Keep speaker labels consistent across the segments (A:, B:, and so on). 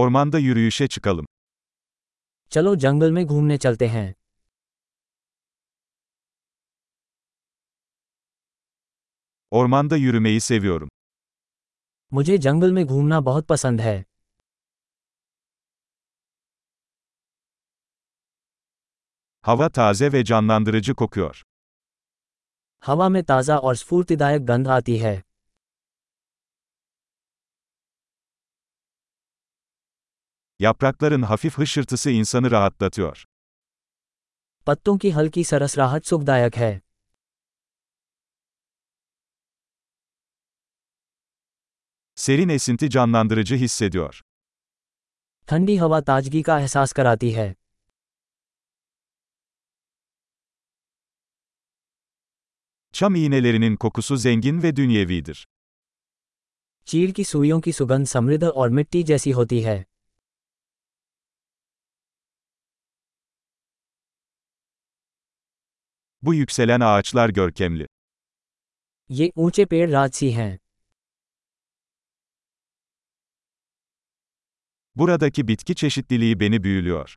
A: Ormanda yürüyüşe çıkalım.
B: चलो जंगल में घूमने चलते हैं
A: Ormanda yürümeyi seviyorum.
B: मुझे जंगल में घूमना बहुत पसंद है
A: Hava taze ve canlandırıcı kokuyor.
B: हवा में ताज़ा और स्फूर्तिदायक गंध आती है
A: Yaprakların hafif hışırtısı insanı rahatlatıyor.
B: पत्तों की हल्की सरसराहट सुखदायक है
A: Serin esinti canlandırıcı hissediyor.
B: ठंडी हवा ताजगी का एहसास कराती है
A: Çam iğnelerinin kokusu zengin ve dünyevidir.
B: चीड़ की सुइयों की सुगंध समृद्ध और मिट्टी जैसी होती है
A: Bu yükselen ağaçlar görkemli.
B: ये ऊंचे पेड़ राजसी हैं
A: Buradaki bitki çeşitliliği beni büyülüyor.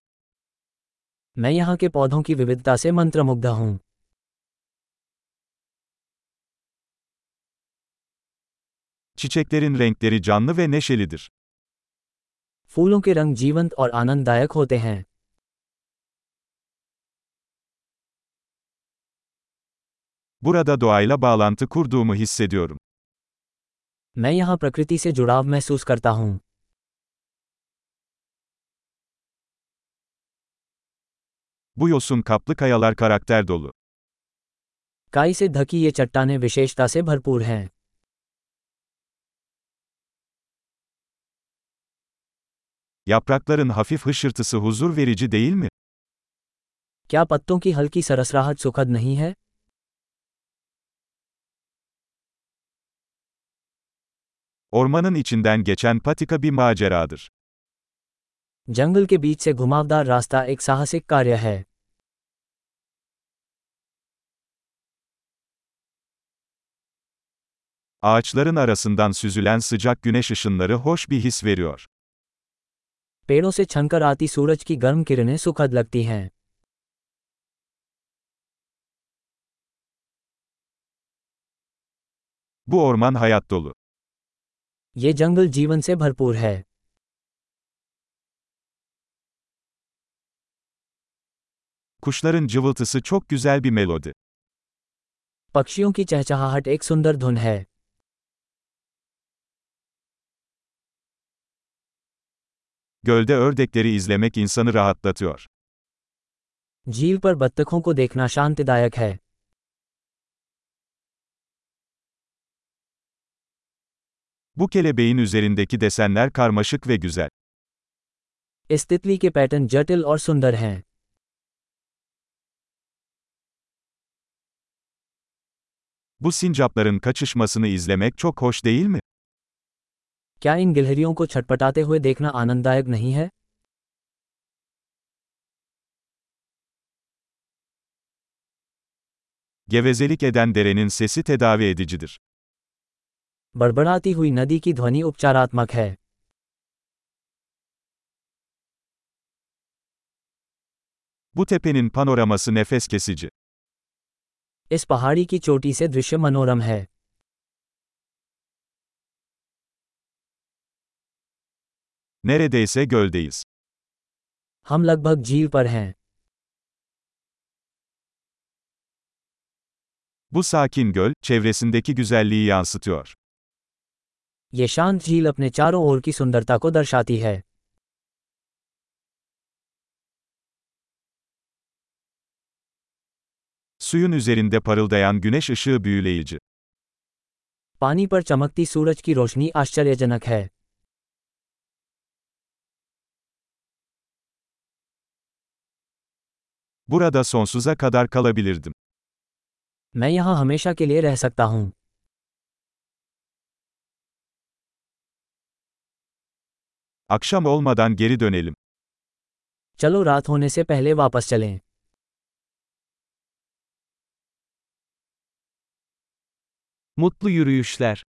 B: मैं यहाँ के पौधों की विविधता से मंत्रमुग्ध हूँ
A: Çiçeklerin renkleri canlı ve neşelidir.
B: फूलों के रंग जीवंत और आनंददायक होते हैं
A: Burada doğayla bağlantı kurduğumu hissediyorum.
B: मैं यहाँ प्रकृति से जुड़ाव महसूस करता हूँ
A: Bu yosun kaplı kayalar karakter dolu.
B: काई से ढकी ये चट्टाने विशेषता से भरपूर हैं
A: Yaprakların hafif hışırtısı huzur verici değil mi?
B: क्या पत्तों की हल्की सरसराहट सुखद नहीं है
A: Ormanın içinden geçen patika bir maceradır.
B: जंगल के बीच से घुमावदार रास्ता एक साहसिक कार्य है
A: Ağaçların arasından süzülen sıcak güneş ışınları hoş bir his veriyor.
B: पेड़ों से छनकर आती सूरज की गर्म किरणें सुखद लगती हैं
A: Bu orman hayat dolu.
B: ये जंगल जीवन से भरपूर है
A: Kuşların cıvıltısı çok güzel bir melodi.
B: पक्षियों की चहचहाहट एक सुंदर धुन है
A: Gölde ördekleri izlemek insanı rahatlatıyor.
B: झील पर बत्तखों को देखना शांतिदायक है
A: Bu kelebeğin üzerindeki desenler karmaşık ve güzel.
B: इस तितली के पैटर्न जटिल और सुंदर हैं
A: Bu sincapların kaçışmasını izlemek çok hoş değil mi?
B: क्या इन गिलहरियों को छटपटाते हुए देखना आनंददायक नहीं है
A: Gevezelik eden derenin sesi tedavi edicidir.
B: बड़बड़ाती हुई नदी की ध्वनि उपचारात्मक है
A: Bu tepenin panoraması nefes kesici.
B: इस पहाड़ी की चोटी से दृश्य मनोरम है
A: Neredeyse göldeyiz.
B: हम लगभग झील पर हैं
A: Bu sakin göl, çevresindeki güzelliği yansıtıyor.
B: ये शांत झील अपने चारों ओर की सुंदरता को दर्शाती है
A: Suyun üzerinde parıldayan güneş ışığı büyüleyici.
B: पानी पर चमकती सूरज की रोशनी आश्चर्यजनक है
A: Burada sonsuza kadar kalabilirdim.
B: मैं यहाँ हमेशा के लिए रह सकता हूँ
A: Akşam olmadan geri dönelim.
B: चलो रात होने से पहले वापस चलें
C: Mutlu yürüyüşler.